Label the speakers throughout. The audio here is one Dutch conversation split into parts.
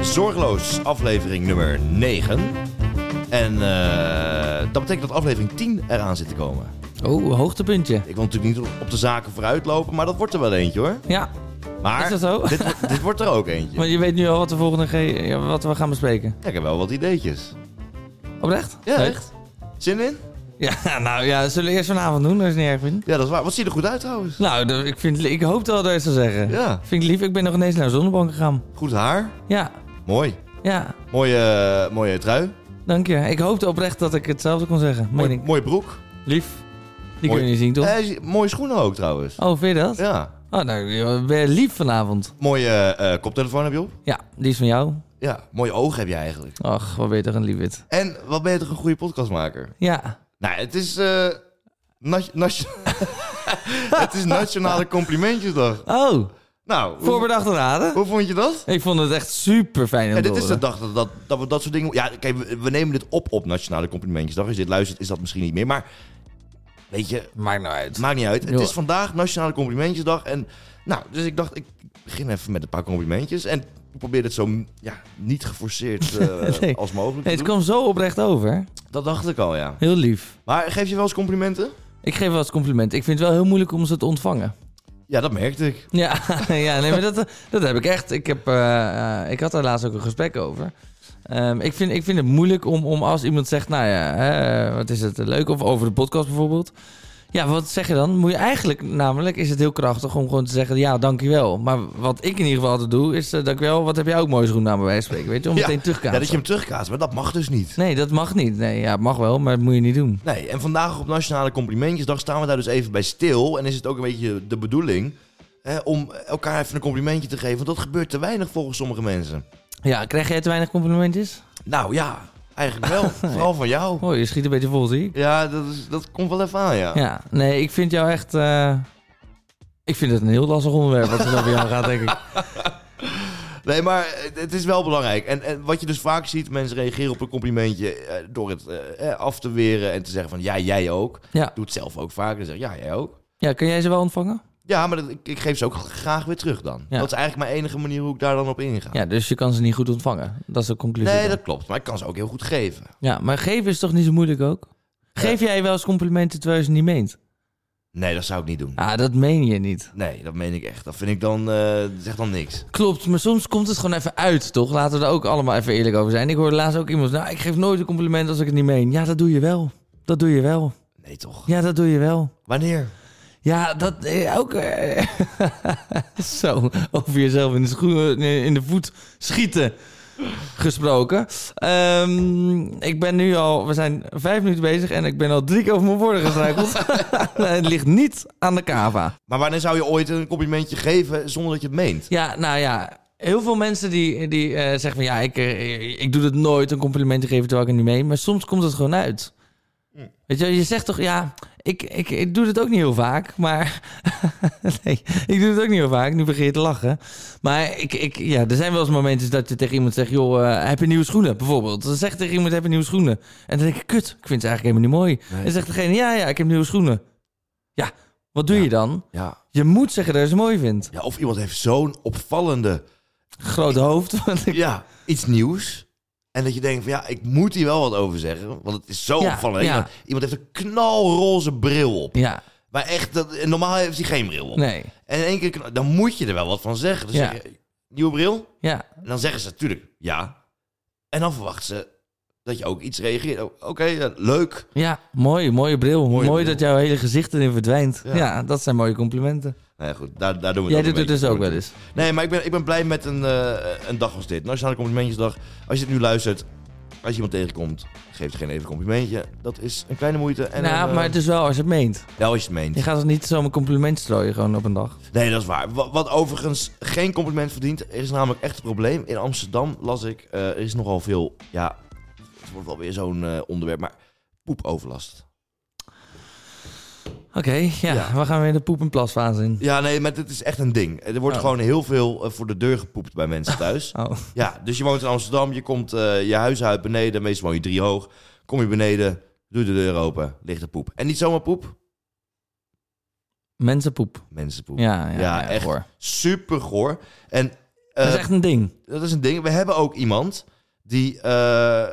Speaker 1: Zorgeloos, aflevering nummer 9. En eh, dat betekent dat aflevering 10 eraan zit te komen.
Speaker 2: Oh, hoogtepuntje.
Speaker 1: Ik wil natuurlijk niet op de zaken vooruit lopen, maar dat wordt er wel eentje hoor.
Speaker 2: Ja,
Speaker 1: Maar
Speaker 2: Is dat zo?
Speaker 1: Dit, wo- dit wordt er ook eentje.
Speaker 2: want je weet nu al wat, de volgende ge- ja, wat we gaan bespreken.
Speaker 1: Ja, ik heb wel wat ideetjes.
Speaker 2: Oprecht?
Speaker 1: Ja,
Speaker 2: Leuk.
Speaker 1: echt? Zin in?
Speaker 2: Ja, nou ja, zullen we eerst vanavond doen, als je het niet erg vindt.
Speaker 1: Ja, dat is waar. Wat ziet er goed uit trouwens?
Speaker 2: Nou, d- ik, vind, ik hoop dat wel iets te zeggen.
Speaker 1: Ja,
Speaker 2: Vind ik lief, ik ben nog ineens naar de zonnebank gegaan.
Speaker 1: goed haar.
Speaker 2: Ja,
Speaker 1: Mooi.
Speaker 2: ja,
Speaker 1: Mooie, eh, mooie trui.
Speaker 2: dank je. Ik hoopte oprecht dat ik hetzelfde kon zeggen. Meen
Speaker 1: Mooi,
Speaker 2: ik.
Speaker 1: mooie broek.
Speaker 2: Lief. Die
Speaker 1: Mooi.
Speaker 2: kun je niet zien, toch?
Speaker 1: Eh, zie- mooie schoenen ook trouwens.
Speaker 2: Oh, vind je dat?
Speaker 1: Ja.
Speaker 2: Oh, nou, je bent lief vanavond.
Speaker 1: Mooie eh, koptelefoon heb je op.
Speaker 2: Ja, die is van jou.
Speaker 1: Ja. Mooie ogen heb je eigenlijk.
Speaker 2: Ach, wat ben je toch een liefwit.
Speaker 1: En wat ben je toch een goede podcastmaker?
Speaker 2: Ja.
Speaker 1: Nou, het is... eh, nat- nat- het is Nationale Complimentjesdag.
Speaker 2: Oh,
Speaker 1: Nou, hoe,
Speaker 2: voorbedachte raden.
Speaker 1: hoe vond je dat?
Speaker 2: Ik vond het echt super fijn om
Speaker 1: Ja,
Speaker 2: te
Speaker 1: dit is
Speaker 2: horen.
Speaker 1: de dag dat, dat, dat we dat soort dingen... Ja, kijk, we, we nemen dit op op Nationale Complimentjesdag. Als je dit luistert, is dat misschien niet meer. Maar weet je,
Speaker 2: Maakt nou uit.
Speaker 1: maakt niet uit. Het
Speaker 2: Ja.
Speaker 1: is vandaag Nationale Complimentjesdag. En nou, dus ik dacht, ik begin even met een paar complimentjes. En ik probeer het zo ja, niet geforceerd eh,
Speaker 2: Nee.
Speaker 1: als mogelijk
Speaker 2: Nee,
Speaker 1: te
Speaker 2: het
Speaker 1: doen.
Speaker 2: kwam zo oprecht over.
Speaker 1: Dat dacht ik al, ja.
Speaker 2: Heel lief.
Speaker 1: Maar geef je wel eens complimenten?
Speaker 2: Ik geef wel eens compliment. Ik vind het wel heel moeilijk om ze te ontvangen.
Speaker 1: Ja, dat merkte ik.
Speaker 2: Ja, ja nee, maar dat, dat heb ik echt. Ik, heb, eh, eh, ik had daar laatst ook een gesprek over. Ehm, ik, vind, ik vind het moeilijk om, om als iemand zegt, nou ja, eh, wat is het eh, leuk? Of over de podcast bijvoorbeeld. Ja, wat zeg je dan? Moet je eigenlijk, namelijk is het heel krachtig om gewoon te zeggen, ja, dankjewel. Maar wat ik in ieder geval altijd doe, is, eh, dankjewel, wat heb jij ook mooi schoen aan bij wijze van spreken, weet je? Om
Speaker 1: Ja.
Speaker 2: meteen terug te
Speaker 1: Ja, dat je hem terugkaatst, maar dat mag dus niet.
Speaker 2: Nee, dat mag niet. Nee, ja, mag wel, maar dat moet je niet doen.
Speaker 1: Nee, en vandaag op Nationale Complimentjesdag staan we daar dus even bij stil. En is het ook een beetje de bedoeling hè, om elkaar even een complimentje te geven. Want dat gebeurt te weinig volgens sommige mensen.
Speaker 2: Ja, krijg jij te weinig complimentjes?
Speaker 1: Nou ja, eigenlijk wel. Vooral van jou.
Speaker 2: Oh, je schiet een beetje vol, zie ik.
Speaker 1: Ja, dat, is, dat komt wel even aan, ja.
Speaker 2: Ja, nee, ik vind jou echt... eh, Ik vind het een heel lastig onderwerp wat er over jou gaat, denk ik.
Speaker 1: Nee, maar het- het is wel belangrijk. En, en wat je dus vaak ziet, mensen reageren op een complimentje eh, door het eh, eh, af te weren en te zeggen van ja, jij ook.
Speaker 2: Ja.
Speaker 1: Ik doe het zelf ook vaak en zeg ja, jij ook.
Speaker 2: Ja, kun jij ze wel ontvangen?
Speaker 1: Ja, maar dat, ik, ik geef ze ook graag weer terug dan.
Speaker 2: Ja.
Speaker 1: Dat is eigenlijk mijn enige manier hoe ik daar dan op inga.
Speaker 2: Ja, dus je kan ze niet goed ontvangen. Dat is de conclusie.
Speaker 1: Nee,
Speaker 2: dan.
Speaker 1: dat klopt. Maar ik kan ze ook heel goed geven.
Speaker 2: Ja, maar geven is toch niet zo moeilijk ook? Geef jij wel eens complimenten terwijl je ze niet meent?
Speaker 1: Nee, dat zou ik niet doen.
Speaker 2: Ah, dat meen je niet.
Speaker 1: Nee, dat meen ik echt. Dat vind ik dan, eh zeg dan niks.
Speaker 2: Klopt, maar soms komt het gewoon even uit, toch? Laten we er ook allemaal even eerlijk over zijn. Ik hoorde laatst ook iemand, nou, ik geef nooit een compliment als ik het niet meen. Ja, dat doe je wel. Dat doe je wel.
Speaker 1: Nee, toch?
Speaker 2: Ja, dat doe je wel.
Speaker 1: Wanneer?
Speaker 2: Ja, dat eh, ook. eh, zo, over jezelf in de, schoen, eh, in de voet schieten gesproken. Ehm, ik ben nu al, we zijn vijf minuten bezig en ik ben al drie keer over mijn woorden gestruikeld. het ligt niet aan de kava.
Speaker 1: Maar wanneer zou je ooit een complimentje geven zonder dat je het meent?
Speaker 2: Ja, nou ja. Heel veel mensen die, die eh, zeggen van ja, ik, eh, ik doe dat nooit, een compliment te geven terwijl ik er niet mee. Maar soms komt het gewoon uit.
Speaker 1: Mm.
Speaker 2: Weet je, wel, je zegt toch ja, ik, ik, ik doe dit ook niet heel vaak, maar. nee, ik doe het ook niet heel vaak. Nu begin je te lachen. Maar ik, ik, ja, er zijn wel eens momenten dat je tegen iemand zegt: joh, eh, heb je nieuwe schoenen? Bijvoorbeeld. Dan zegt tegen iemand: heb je nieuwe schoenen? En dan denk ik: kut, ik vind ze eigenlijk helemaal niet mooi.
Speaker 1: Nee.
Speaker 2: En dan zegt degene: ja, ja, ik heb nieuwe schoenen. Ja, wat doe
Speaker 1: Ja.
Speaker 2: je dan?
Speaker 1: Ja.
Speaker 2: Je moet zeggen dat je ze mooi vindt.
Speaker 1: ja. Of iemand heeft zo'n opvallende,
Speaker 2: Groot hoofd. Want ik
Speaker 1: ja, iets nieuws. En dat je denkt van ja, ik moet hier wel wat over zeggen. Want het is zo
Speaker 2: Ja,
Speaker 1: opvallend.
Speaker 2: ja.
Speaker 1: Iemand- Iemand heeft een knalroze bril op.
Speaker 2: Ja,
Speaker 1: Maar echt, dat, normaal heeft hij geen bril op.
Speaker 2: nee.
Speaker 1: En in één keer, kna- dan moet je er wel wat van zeggen. Dus
Speaker 2: Ja.
Speaker 1: zeg je, nieuwe bril?
Speaker 2: Ja,
Speaker 1: En dan zeggen ze natuurlijk ja. En dan verwachten ze dat je ook iets reageert. Oh, Oké, ja, leuk.
Speaker 2: ja. Mooi, mooie bril.
Speaker 1: Mooie
Speaker 2: Mooi
Speaker 1: bril.
Speaker 2: dat jouw hele gezicht erin verdwijnt.
Speaker 1: Ja.
Speaker 2: Ja, dat zijn mooie complimenten.
Speaker 1: Nou ja, goed, daar, daar doen we
Speaker 2: Jij
Speaker 1: het
Speaker 2: doet
Speaker 1: een
Speaker 2: het dus
Speaker 1: beetje
Speaker 2: ook
Speaker 1: voor.
Speaker 2: wel eens.
Speaker 1: Nee, maar ik ben, ik ben blij met een, eh, een dag als dit. Nationale Complimentjesdag. Als je dit nu luistert, als je iemand tegenkomt, geef geen even een complimentje. Dat is een kleine moeite. En
Speaker 2: nou,
Speaker 1: een, eh,
Speaker 2: maar het is wel als je het meent.
Speaker 1: wel als je het meent.
Speaker 2: Je gaat het niet zomaar compliment strooien gewoon op een dag.
Speaker 1: Nee, dat is waar. Wat, wat overigens geen compliment verdient, is namelijk echt een probleem. In Amsterdam las ik, eh, er is nogal veel, ja, het wordt wel weer zo'n eh, onderwerp, maar poepoverlast.
Speaker 2: Oké, ja,
Speaker 1: Ja.
Speaker 2: we gaan weer de poep- en plasfase in.
Speaker 1: Ja, nee, maar dit is echt een ding. Er wordt
Speaker 2: Oh.
Speaker 1: gewoon heel veel eh, voor de deur gepoept bij mensen thuis.
Speaker 2: Oh,
Speaker 1: ja, dus je woont in Amsterdam, je komt eh, je huis uit beneden, meestal woon je drie hoog. Kom je beneden, doe de deur open, ligt er poep. En niet zomaar poep,
Speaker 2: mensenpoep.
Speaker 1: mensenpoep.
Speaker 2: Ja, ja,
Speaker 1: Ja, echt.
Speaker 2: hoor.
Speaker 1: Super goor. En eh,
Speaker 2: dat is
Speaker 1: eh,
Speaker 2: echt een ding.
Speaker 1: dat is een ding. We hebben ook iemand die eh,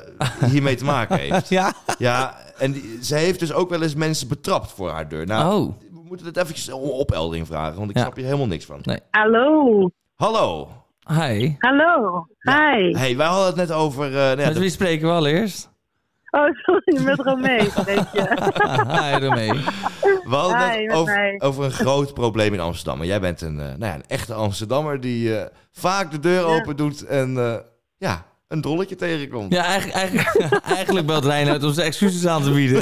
Speaker 1: hiermee te maken heeft.
Speaker 2: Ja?
Speaker 1: Ja, en die, zij heeft dus ook wel eens mensen betrapt voor haar deur. Nou,
Speaker 2: Oh.
Speaker 1: we moeten het eventjes om opheldering vragen, want ik
Speaker 2: Ja.
Speaker 1: snap hier helemaal niks van.
Speaker 2: Nee.
Speaker 3: Hallo.
Speaker 1: Hallo.
Speaker 2: Hi.
Speaker 3: Hallo. Hi.
Speaker 1: Hey, wij hadden het net over... eh, nou ja,
Speaker 2: Met wie spreken we allereerst?
Speaker 3: Oh, sorry, met Romee spreek je.
Speaker 2: Hi, Romee.
Speaker 1: We hadden het
Speaker 3: Hi,
Speaker 1: net
Speaker 3: met
Speaker 1: over,
Speaker 3: mij.
Speaker 1: over een groot probleem in Amsterdam. En jij bent een, eh, nou ja, een echte Amsterdammer die eh, vaak de deur
Speaker 3: Ja.
Speaker 1: open doet en eh, ja, een drolletje tegenkomt.
Speaker 2: Ja, eigenlijk, eigenlijk, eigenlijk belt Reinhard om zijn excuses aan te bieden.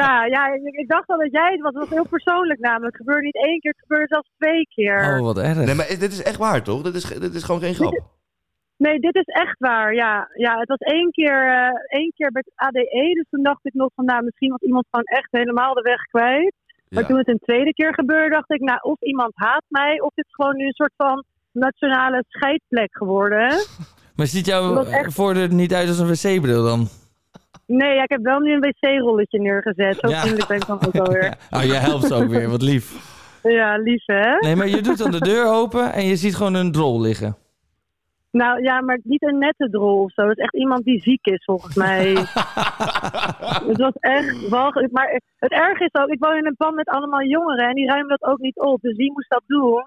Speaker 3: Ja, ja ik, ik dacht al dat jij het was. Het was heel persoonlijk namelijk. Het gebeurde niet één keer, het gebeurde zelfs twee keer.
Speaker 2: Oh, wat erg.
Speaker 1: Nee, maar is- dit is echt waar, toch? Dit is, ge- dit is gewoon geen grap.
Speaker 3: Nee, dit is echt waar. Ja, ja het was één keer, eh, één keer bij het ADE. Dus toen dacht ik nog van, nou, misschien was iemand gewoon echt helemaal de weg kwijt. Maar
Speaker 1: Ja.
Speaker 3: toen het een tweede keer gebeurde, dacht ik, nou, of iemand haat mij, of dit is gewoon nu een soort van nationale scheidplek geworden.
Speaker 2: Maar ziet jouw
Speaker 3: Dat echt-
Speaker 2: voordeur niet uit als een wc-bril dan?
Speaker 3: Nee, ja, ik heb wel nu een wc-rolletje neergezet. Zo
Speaker 2: Ja.
Speaker 3: vriendelijk ben ik dan ook alweer.
Speaker 2: Oh, jij helpt ook weer, wat lief.
Speaker 3: Ja, lief hè?
Speaker 2: Nee, maar je doet dan de deur open en je ziet gewoon een drol liggen.
Speaker 3: Nou ja, maar niet een nette drol of zo. Het is echt iemand die ziek is, volgens mij. het was echt walgelijk. Maar het erg is ook, ik woon in een pan met allemaal jongeren en die ruimen dat ook niet op. Dus wie moest dat doen?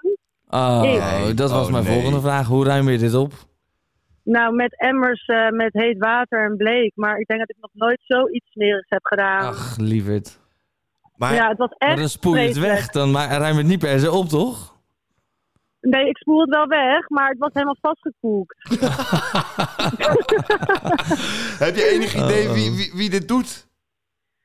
Speaker 2: Oh,
Speaker 1: Nee.
Speaker 2: dat was
Speaker 1: Oh,
Speaker 2: mijn
Speaker 1: nee.
Speaker 2: volgende vraag. Hoe ruim je dit op?
Speaker 3: Nou, met emmers, eh, met heet water en bleek. Maar ik denk dat ik nog nooit zoiets smerigs heb gedaan.
Speaker 2: Ach, lieverd.
Speaker 1: Maar
Speaker 3: ja, het was
Speaker 2: Maar
Speaker 3: echt
Speaker 2: dan spoel je het
Speaker 3: vreselijk.
Speaker 2: weg, dan ma- ruim je het niet per se op, toch?
Speaker 3: Nee, ik spoel het wel weg, maar het was helemaal vastgekoekt.
Speaker 1: heb je enig idee
Speaker 2: Oh.
Speaker 1: wie, wie, wie dit doet?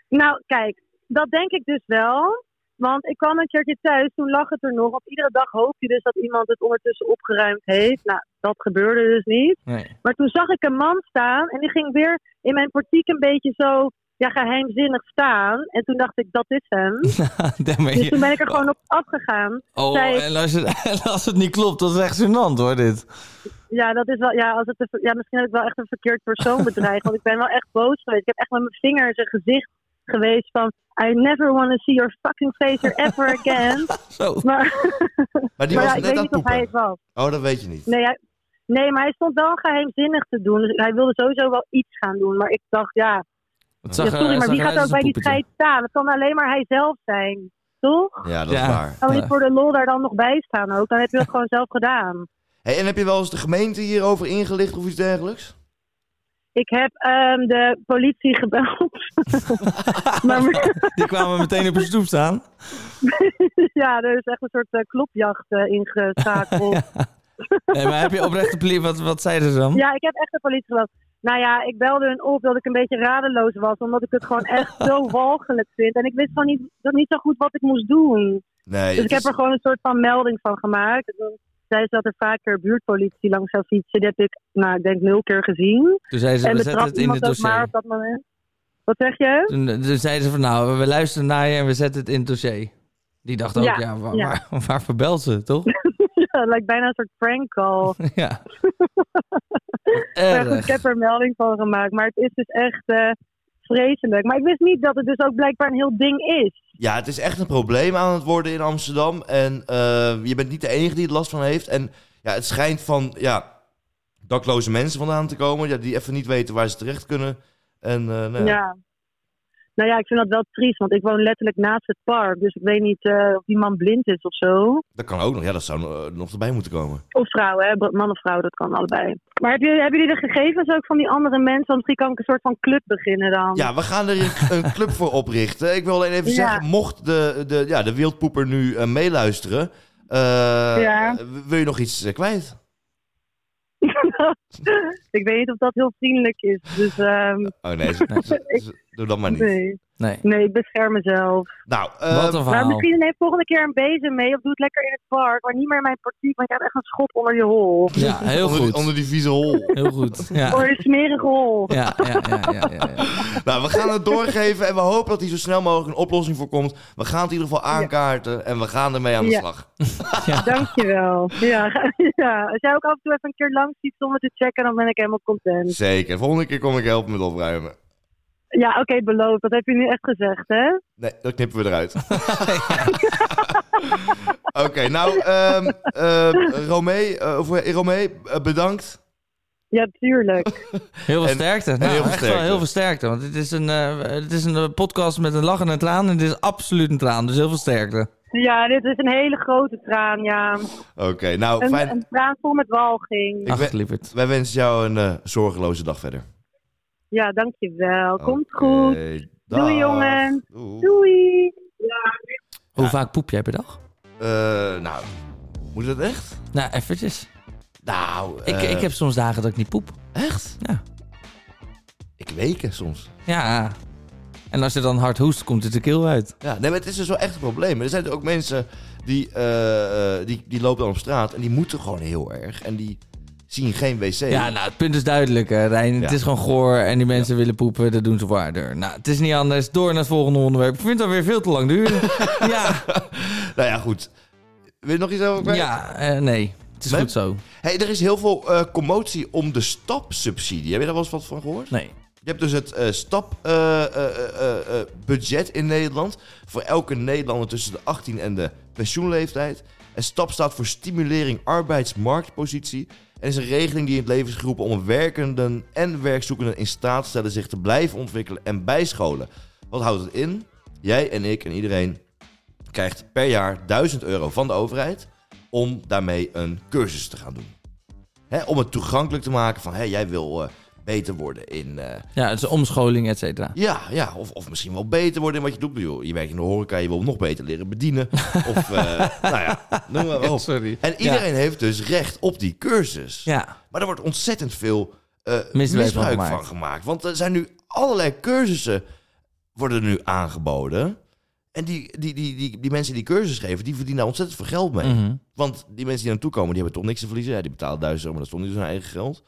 Speaker 3: Nou, kijk, dat denk ik dus wel. Want ik kwam een keertje thuis, toen lag het er nog. Op iedere dag hoop je dus dat iemand het ondertussen opgeruimd heeft. Nou, dat gebeurde dus niet.
Speaker 2: Nee.
Speaker 3: Maar toen zag ik een man staan en die ging weer in mijn portiek een beetje zo ja, geheimzinnig staan. En toen dacht ik, dat is hem.
Speaker 2: Dan ben
Speaker 3: Dus
Speaker 2: je...
Speaker 3: toen ben ik er gewoon op afgegaan.
Speaker 2: Oh,
Speaker 3: zei-
Speaker 2: en als, het, en als het niet klopt, dat is echt gênant hoor, dit.
Speaker 3: Ja, dat is wel, ja, als het een ver- ja, misschien heb ik wel echt een verkeerd persoon bedreigd. want ik ben wel echt boos geweest. Ik heb echt met mijn vinger in zijn gezicht geweest van... I never want to see your fucking face here ever again.
Speaker 2: Zo.
Speaker 3: Maar...
Speaker 1: Maar die
Speaker 3: maar
Speaker 1: was
Speaker 3: ja, ik
Speaker 1: net
Speaker 3: weet
Speaker 1: aan
Speaker 3: niet
Speaker 1: het
Speaker 3: of hij
Speaker 1: poepen.
Speaker 3: het was.
Speaker 1: Oh, dat weet je niet.
Speaker 3: Nee, hij, nee, maar hij stond wel geheimzinnig te doen. Dus hij wilde sowieso wel iets gaan doen. Maar ik dacht, ja,
Speaker 2: Het
Speaker 3: ja
Speaker 1: eh,
Speaker 2: zag er-
Speaker 3: sorry,
Speaker 2: het
Speaker 3: maar
Speaker 2: zag
Speaker 3: wie
Speaker 2: eruit
Speaker 3: gaat
Speaker 2: als
Speaker 3: ook
Speaker 2: een
Speaker 3: bij die
Speaker 2: poppetje.
Speaker 3: scheid staan? Het kan alleen maar hij zelf zijn, toch?
Speaker 1: Ja, dat
Speaker 2: Ja.
Speaker 1: is waar.
Speaker 3: Kan
Speaker 2: Ja.
Speaker 3: niet voor de lol daar dan nog bij staan ook. Dan heb je dat gewoon zelf gedaan.
Speaker 1: Hey, en heb je wel eens de gemeente hierover ingelicht of iets dergelijks?
Speaker 3: Ik heb ehm, de politie gebeld. maar
Speaker 2: Die kwamen meteen op je stoep staan.
Speaker 3: ja, er is echt een soort eh, klopjacht eh, ingeschakeld.
Speaker 2: Nee, maar heb je oprechte plie... Wat, wat zeiden ze dan?
Speaker 3: Ja, ik heb echt de politie gebeld. Nou ja, ik belde hun op dat ik een beetje radeloos was. Omdat ik het gewoon echt zo walgelijk vind. En ik wist gewoon niet, dat niet zo goed wat ik moest doen.
Speaker 1: Nee.
Speaker 3: Dus
Speaker 1: het
Speaker 3: ik heb
Speaker 1: is-
Speaker 3: er gewoon een soort van melding van gemaakt. En toen zei ze dat er vaker buurtpolitie langs zou fietsen. Dat heb ik, nou, ik denk nul keer gezien.
Speaker 2: Toen zeiden ze,
Speaker 3: en
Speaker 2: we zetten het in
Speaker 3: betrapt
Speaker 2: het
Speaker 3: iemand ook maar
Speaker 2: dossier.
Speaker 3: op dat moment. Wat zeg je?
Speaker 2: Toen, eh, toen zeiden ze van, nou, we luisteren naar je en we zetten het in het dossier. Die dacht ook, ja,
Speaker 3: Ja,
Speaker 2: waar,
Speaker 3: ja.
Speaker 2: Waar, waarvoor belt ze, toch?
Speaker 3: Ja, het lijkt bijna een soort prank call.
Speaker 2: ja.
Speaker 3: Maar goed, ik
Speaker 2: Erg.
Speaker 3: heb er melding van gemaakt. Maar het is dus echt eh, vreselijk. Maar ik wist niet dat het dus ook blijkbaar een heel ding is.
Speaker 1: Ja, het is echt een probleem aan het worden in Amsterdam. En eh, je bent niet de enige die er last van heeft. En ja, het schijnt van ja, dakloze mensen vandaan te komen. Ja, die even niet weten waar ze terecht kunnen. En, eh, nou, ja.
Speaker 3: Ja. Nou ja, ik vind dat wel triest, want ik woon letterlijk naast het park. Dus ik weet niet eh, of die man blind is of zo.
Speaker 1: Dat kan ook nog. Ja, dat zou eh, nog erbij moeten komen.
Speaker 3: Of vrouw, hè? br- Man of vrouw, dat kan allebei. Maar heb jullie, hebben jullie de gegevens ook van die andere mensen? Want misschien kan ik een soort van club beginnen dan.
Speaker 1: Ja, we gaan er een- een club voor oprichten. Ik wil alleen even
Speaker 3: Ja.
Speaker 1: zeggen, mocht de, de, ja, de wildpoeper nu eh, meeluisteren... eh,
Speaker 3: Ja.
Speaker 1: w- Wil je nog iets eh, kwijt?
Speaker 3: ik weet niet of dat heel vriendelijk is. Dus ehm,
Speaker 1: Oh nee, z- z- z- doe dat maar niet.
Speaker 3: nee.
Speaker 2: Nee,
Speaker 3: nee, ik bescherm mezelf.
Speaker 1: Nou, eh,
Speaker 2: wat een
Speaker 3: Maar
Speaker 2: verhaal.
Speaker 3: misschien neem volgende keer een bezem mee of doe het lekker in het park. Maar niet meer in mijn portiek, want ik heb echt een schot onder je hol.
Speaker 2: Ja, heel
Speaker 1: onder, die-
Speaker 2: goed.
Speaker 1: onder die vieze hol.
Speaker 2: Heel goed, ja.
Speaker 3: Onder je smerige hol.
Speaker 2: Ja, ja, ja, ja, ja, ja.
Speaker 1: Nou, we gaan het doorgeven en we hopen dat hier zo snel mogelijk een oplossing voor komt. We gaan het in ieder geval aankaarten en we gaan ermee aan de
Speaker 3: Ja.
Speaker 1: slag.
Speaker 3: Dankjewel. Ja, ga- ja, als jij ook af en toe even een keer langs ziet om het te checken, dan ben ik helemaal content.
Speaker 1: Zeker. Volgende keer kom ik helpen met opruimen.
Speaker 3: Ja, oké, beloofd. Dat heb je nu echt gezegd, hè?
Speaker 1: Nee, dat knippen we eruit. Oké, nou, ehm eh, Romee, eh, of, eh, Romee, eh, bedankt.
Speaker 3: Ja, tuurlijk.
Speaker 2: Heel veel
Speaker 1: En-
Speaker 2: sterkte.
Speaker 1: heel
Speaker 2: Nou,
Speaker 1: veel
Speaker 2: echt wel
Speaker 1: sterkte.
Speaker 2: heel veel sterkte. Want het is, een, eh, het is een eh, podcast met een lach en een traan. En dit is absoluut een traan. Dus heel veel sterkte.
Speaker 3: Ja, dit is een hele grote traan, ja.
Speaker 1: Oké, nou,
Speaker 3: Een,
Speaker 1: fijn.
Speaker 3: een traan vol met walging.
Speaker 1: Ik
Speaker 2: Ach,
Speaker 1: ben-
Speaker 2: lieverd.
Speaker 1: Wij wensen jou een eh, zorgeloze dag verder.
Speaker 3: Ja, dankjewel. Komt
Speaker 1: Oké,
Speaker 3: goed.
Speaker 1: dag.
Speaker 3: Doei, jongen.
Speaker 1: Doei.
Speaker 3: Doei. Ja.
Speaker 2: Hoe vaak poep jij per dag?
Speaker 1: Eh, nou, moet dat echt?
Speaker 2: Nou, eventjes.
Speaker 1: Nou,
Speaker 2: Ik,
Speaker 1: eh,
Speaker 2: ik heb soms dagen dat ik niet poep.
Speaker 1: Echt?
Speaker 2: Ja.
Speaker 1: Ik weken soms.
Speaker 2: Ja. En als je dan hard hoest, komt het de keel uit.
Speaker 1: Ja, nee, maar het is dus wel echt een probleem. Er zijn ook mensen die, eh, eh, die, die lopen dan op straat en die moeten gewoon heel erg. En die zien geen wc.
Speaker 2: Ja, nou, het punt is duidelijk, hè, Rijn. Het
Speaker 1: Ja.
Speaker 2: is gewoon goor en die mensen willen poepen, dat doen ze waarder. Nou, het is niet anders. Door naar het volgende onderwerp. Ik vind dat weer veel te lang duren. ja,
Speaker 1: Nou ja, goed. Wil je nog iets over kwijt?
Speaker 2: ja eh, nee. Het is
Speaker 1: Nee?
Speaker 2: goed zo.
Speaker 1: Hey, er is heel veel eh, commotie om de stapsubsidie. Heb je daar wel eens wat van gehoord?
Speaker 2: Nee.
Speaker 1: Je hebt dus het eh stapbudget eh, in Nederland. Voor elke Nederlander tussen de 18 en de pensioenleeftijd. En STAP staat voor Stimulering Arbeidsmarktpositie. En is een regeling die in het leven is geroepen om werkenden en werkzoekenden in staat te stellen zich te blijven ontwikkelen en bijscholen. Wat houdt het in? Jij en ik en iedereen krijgt per jaar 1000 euro van de overheid om daarmee een cursus te gaan doen. Hè, om het toegankelijk te maken van hé, jij wil eh, beter worden in, eh,
Speaker 2: Ja, het is omscholing, et cetera.
Speaker 1: ja, ja of, of misschien wel beter worden in wat je doet. Ik bedoel, Je werkt in de horeca, je wil nog beter leren bedienen. Of, eh, nou ja, noem maar op.
Speaker 2: sorry.
Speaker 1: En iedereen heeft dus recht op die cursus.
Speaker 2: Ja,
Speaker 1: Maar er wordt ontzettend veel eh,
Speaker 2: van
Speaker 1: misbruik van
Speaker 2: gemaakt.
Speaker 1: gemaakt. Want er zijn nu allerlei cursussen worden nu aangeboden. En die, die, die, die, die mensen die cursus geven, die verdienen daar ontzettend veel geld mee.
Speaker 2: Mhm.
Speaker 1: Want die mensen die naartoe komen, die hebben toch niks te verliezen. Ja, die betalen duizend euro, maar dat is toch niet hun eigen geld.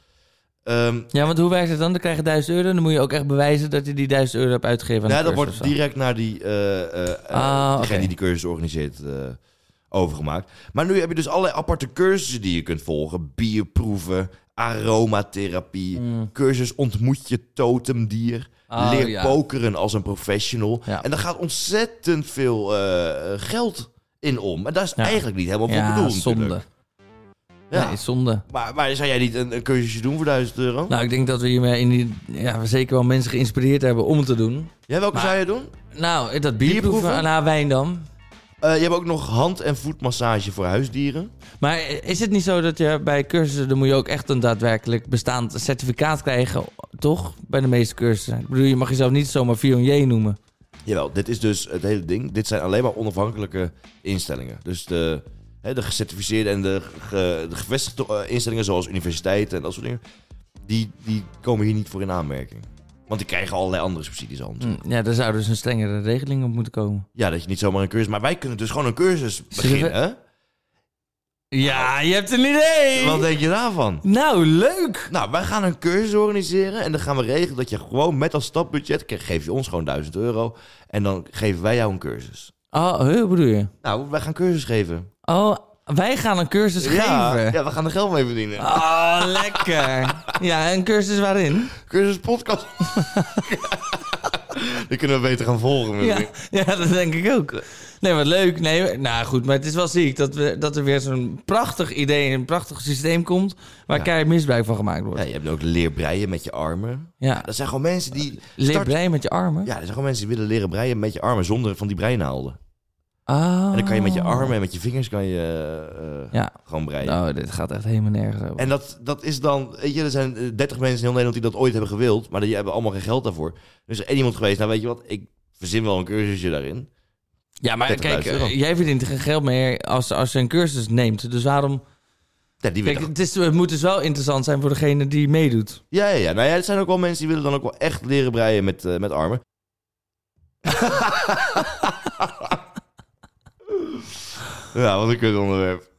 Speaker 1: Ehm,
Speaker 2: ja want hoe werkt het dan? Dan krijg je 1000 euro. Dan moet je ook echt bewijzen dat je die 1000 euro hebt uitgegeven. aan
Speaker 1: Ja,
Speaker 2: de
Speaker 1: dat
Speaker 2: cursus
Speaker 1: wordt direct naar die, eh, eh, eh,
Speaker 2: Ah,
Speaker 1: degene
Speaker 2: oké.
Speaker 1: die die cursus organiseert eh, overgemaakt. Maar nu heb je dus allerlei aparte cursussen die je kunt volgen. Bierproeven, aromatherapie, cursus ontmoet je totemdier.
Speaker 2: Ah,
Speaker 1: leer
Speaker 2: Mm. ja.
Speaker 1: pokeren als een professional.
Speaker 2: Ja.
Speaker 1: En daar gaat ontzettend veel eh, geld in om. En daar is
Speaker 2: Ja.
Speaker 1: eigenlijk niet helemaal voor
Speaker 2: Ja,
Speaker 1: bedoeld.
Speaker 2: zonde.
Speaker 1: natuurlijk. Ja.
Speaker 2: Nee, zonde.
Speaker 1: Maar, maar zou jij niet een, een cursusje doen voor 1000 euro?
Speaker 2: Nou, ik denk dat we hiermee in die, ja, zeker wel mensen geïnspireerd hebben om het te doen.
Speaker 1: ja, welke
Speaker 2: maar-
Speaker 1: zou jij doen?
Speaker 2: Nou, dat bierproeven aan
Speaker 1: Bierproeven?
Speaker 2: haar Wijndam.
Speaker 1: Eh, je hebt ook nog hand- en voetmassage voor huisdieren.
Speaker 2: Maar is het niet zo dat je bij cursussen, dan moet je ook echt een daadwerkelijk bestaand certificaat krijgen, toch? Bij de meeste cursussen. Ik bedoel, je mag jezelf niet zomaar Vionier noemen.
Speaker 1: Jawel, dit is dus het hele ding. Dit zijn alleen maar onafhankelijke instellingen. Dus de, hè, de gecertificeerde en de, ge- de gevestigde eh, instellingen, zoals universiteiten en dat soort dingen, die, die komen hier niet voor in aanmerking. Want die krijgen allerlei andere subsidies al. natuurlijk.
Speaker 2: Ja, daar zou dus een strengere regeling op moeten komen.
Speaker 1: Ja, dat je niet zomaar een cursus. Maar wij kunnen dus gewoon een cursus
Speaker 2: Zullen we-
Speaker 1: beginnen. hè?
Speaker 2: Ja, je hebt een idee!
Speaker 1: Wat denk je daarvan?
Speaker 2: Nou, leuk!
Speaker 1: Nou, wij gaan een cursus organiseren en dan gaan we regelen dat je gewoon met als stapbudget, ke- geef je ons gewoon 1000 euro en dan geven wij jou een cursus.
Speaker 2: Oh, hoe bedoel je?
Speaker 1: Nou, wij gaan cursus geven.
Speaker 2: Oh, wij gaan een cursus
Speaker 1: Ja,
Speaker 2: geven.
Speaker 1: ja, we gaan er geld mee verdienen.
Speaker 2: Oh, lekker. Ja, een cursus waarin?
Speaker 1: Cursus podcast. Die kunnen we beter gaan volgen. met
Speaker 2: Ja,
Speaker 1: elkaar.
Speaker 2: ja, dat denk ik ook. Nee, wat leuk. Nee, nou goed, maar het is wel ziek dat, we, dat er weer zo'n prachtig idee en een prachtig systeem komt waar
Speaker 1: Ja.
Speaker 2: keihard misbruik van gemaakt wordt.
Speaker 1: Ja, je hebt ook leerbreien met je armen.
Speaker 2: Ja,
Speaker 1: Dat zijn gewoon mensen die...
Speaker 2: leer
Speaker 1: start-
Speaker 2: blij met je armen.
Speaker 1: Ja, dat zijn gewoon mensen die willen leren breien met je armen zonder van die breinaalden.
Speaker 2: Ah.
Speaker 1: En dan kan je met je armen en met je vingers kan je eh, eh,
Speaker 2: Ja.
Speaker 1: gewoon breien.
Speaker 2: Nou, dit gaat echt helemaal nergens over.
Speaker 1: En dat, dat is dan... Weet je, er zijn eh, 30 mensen in heel Nederland die dat ooit hebben gewild. Maar die hebben allemaal geen geld daarvoor. Dus er is één iemand geweest. Nou, weet je wat? Ik verzin wel een cursusje daarin.
Speaker 2: ja, maar
Speaker 1: 30.000
Speaker 2: kijk,
Speaker 1: euro.
Speaker 2: eh, jij verdient geen geld meer als, als je een cursus neemt. Dus waarom...
Speaker 1: Ja, die
Speaker 2: Kijk,
Speaker 1: willen-
Speaker 2: het, is, het moet dus wel interessant zijn voor degene die meedoet.
Speaker 1: Ja, ja, ja. Nou ja, er zijn ook wel mensen die willen dan ook wel echt leren breien met, eh, met armen. ja, wat een kut onderwerp.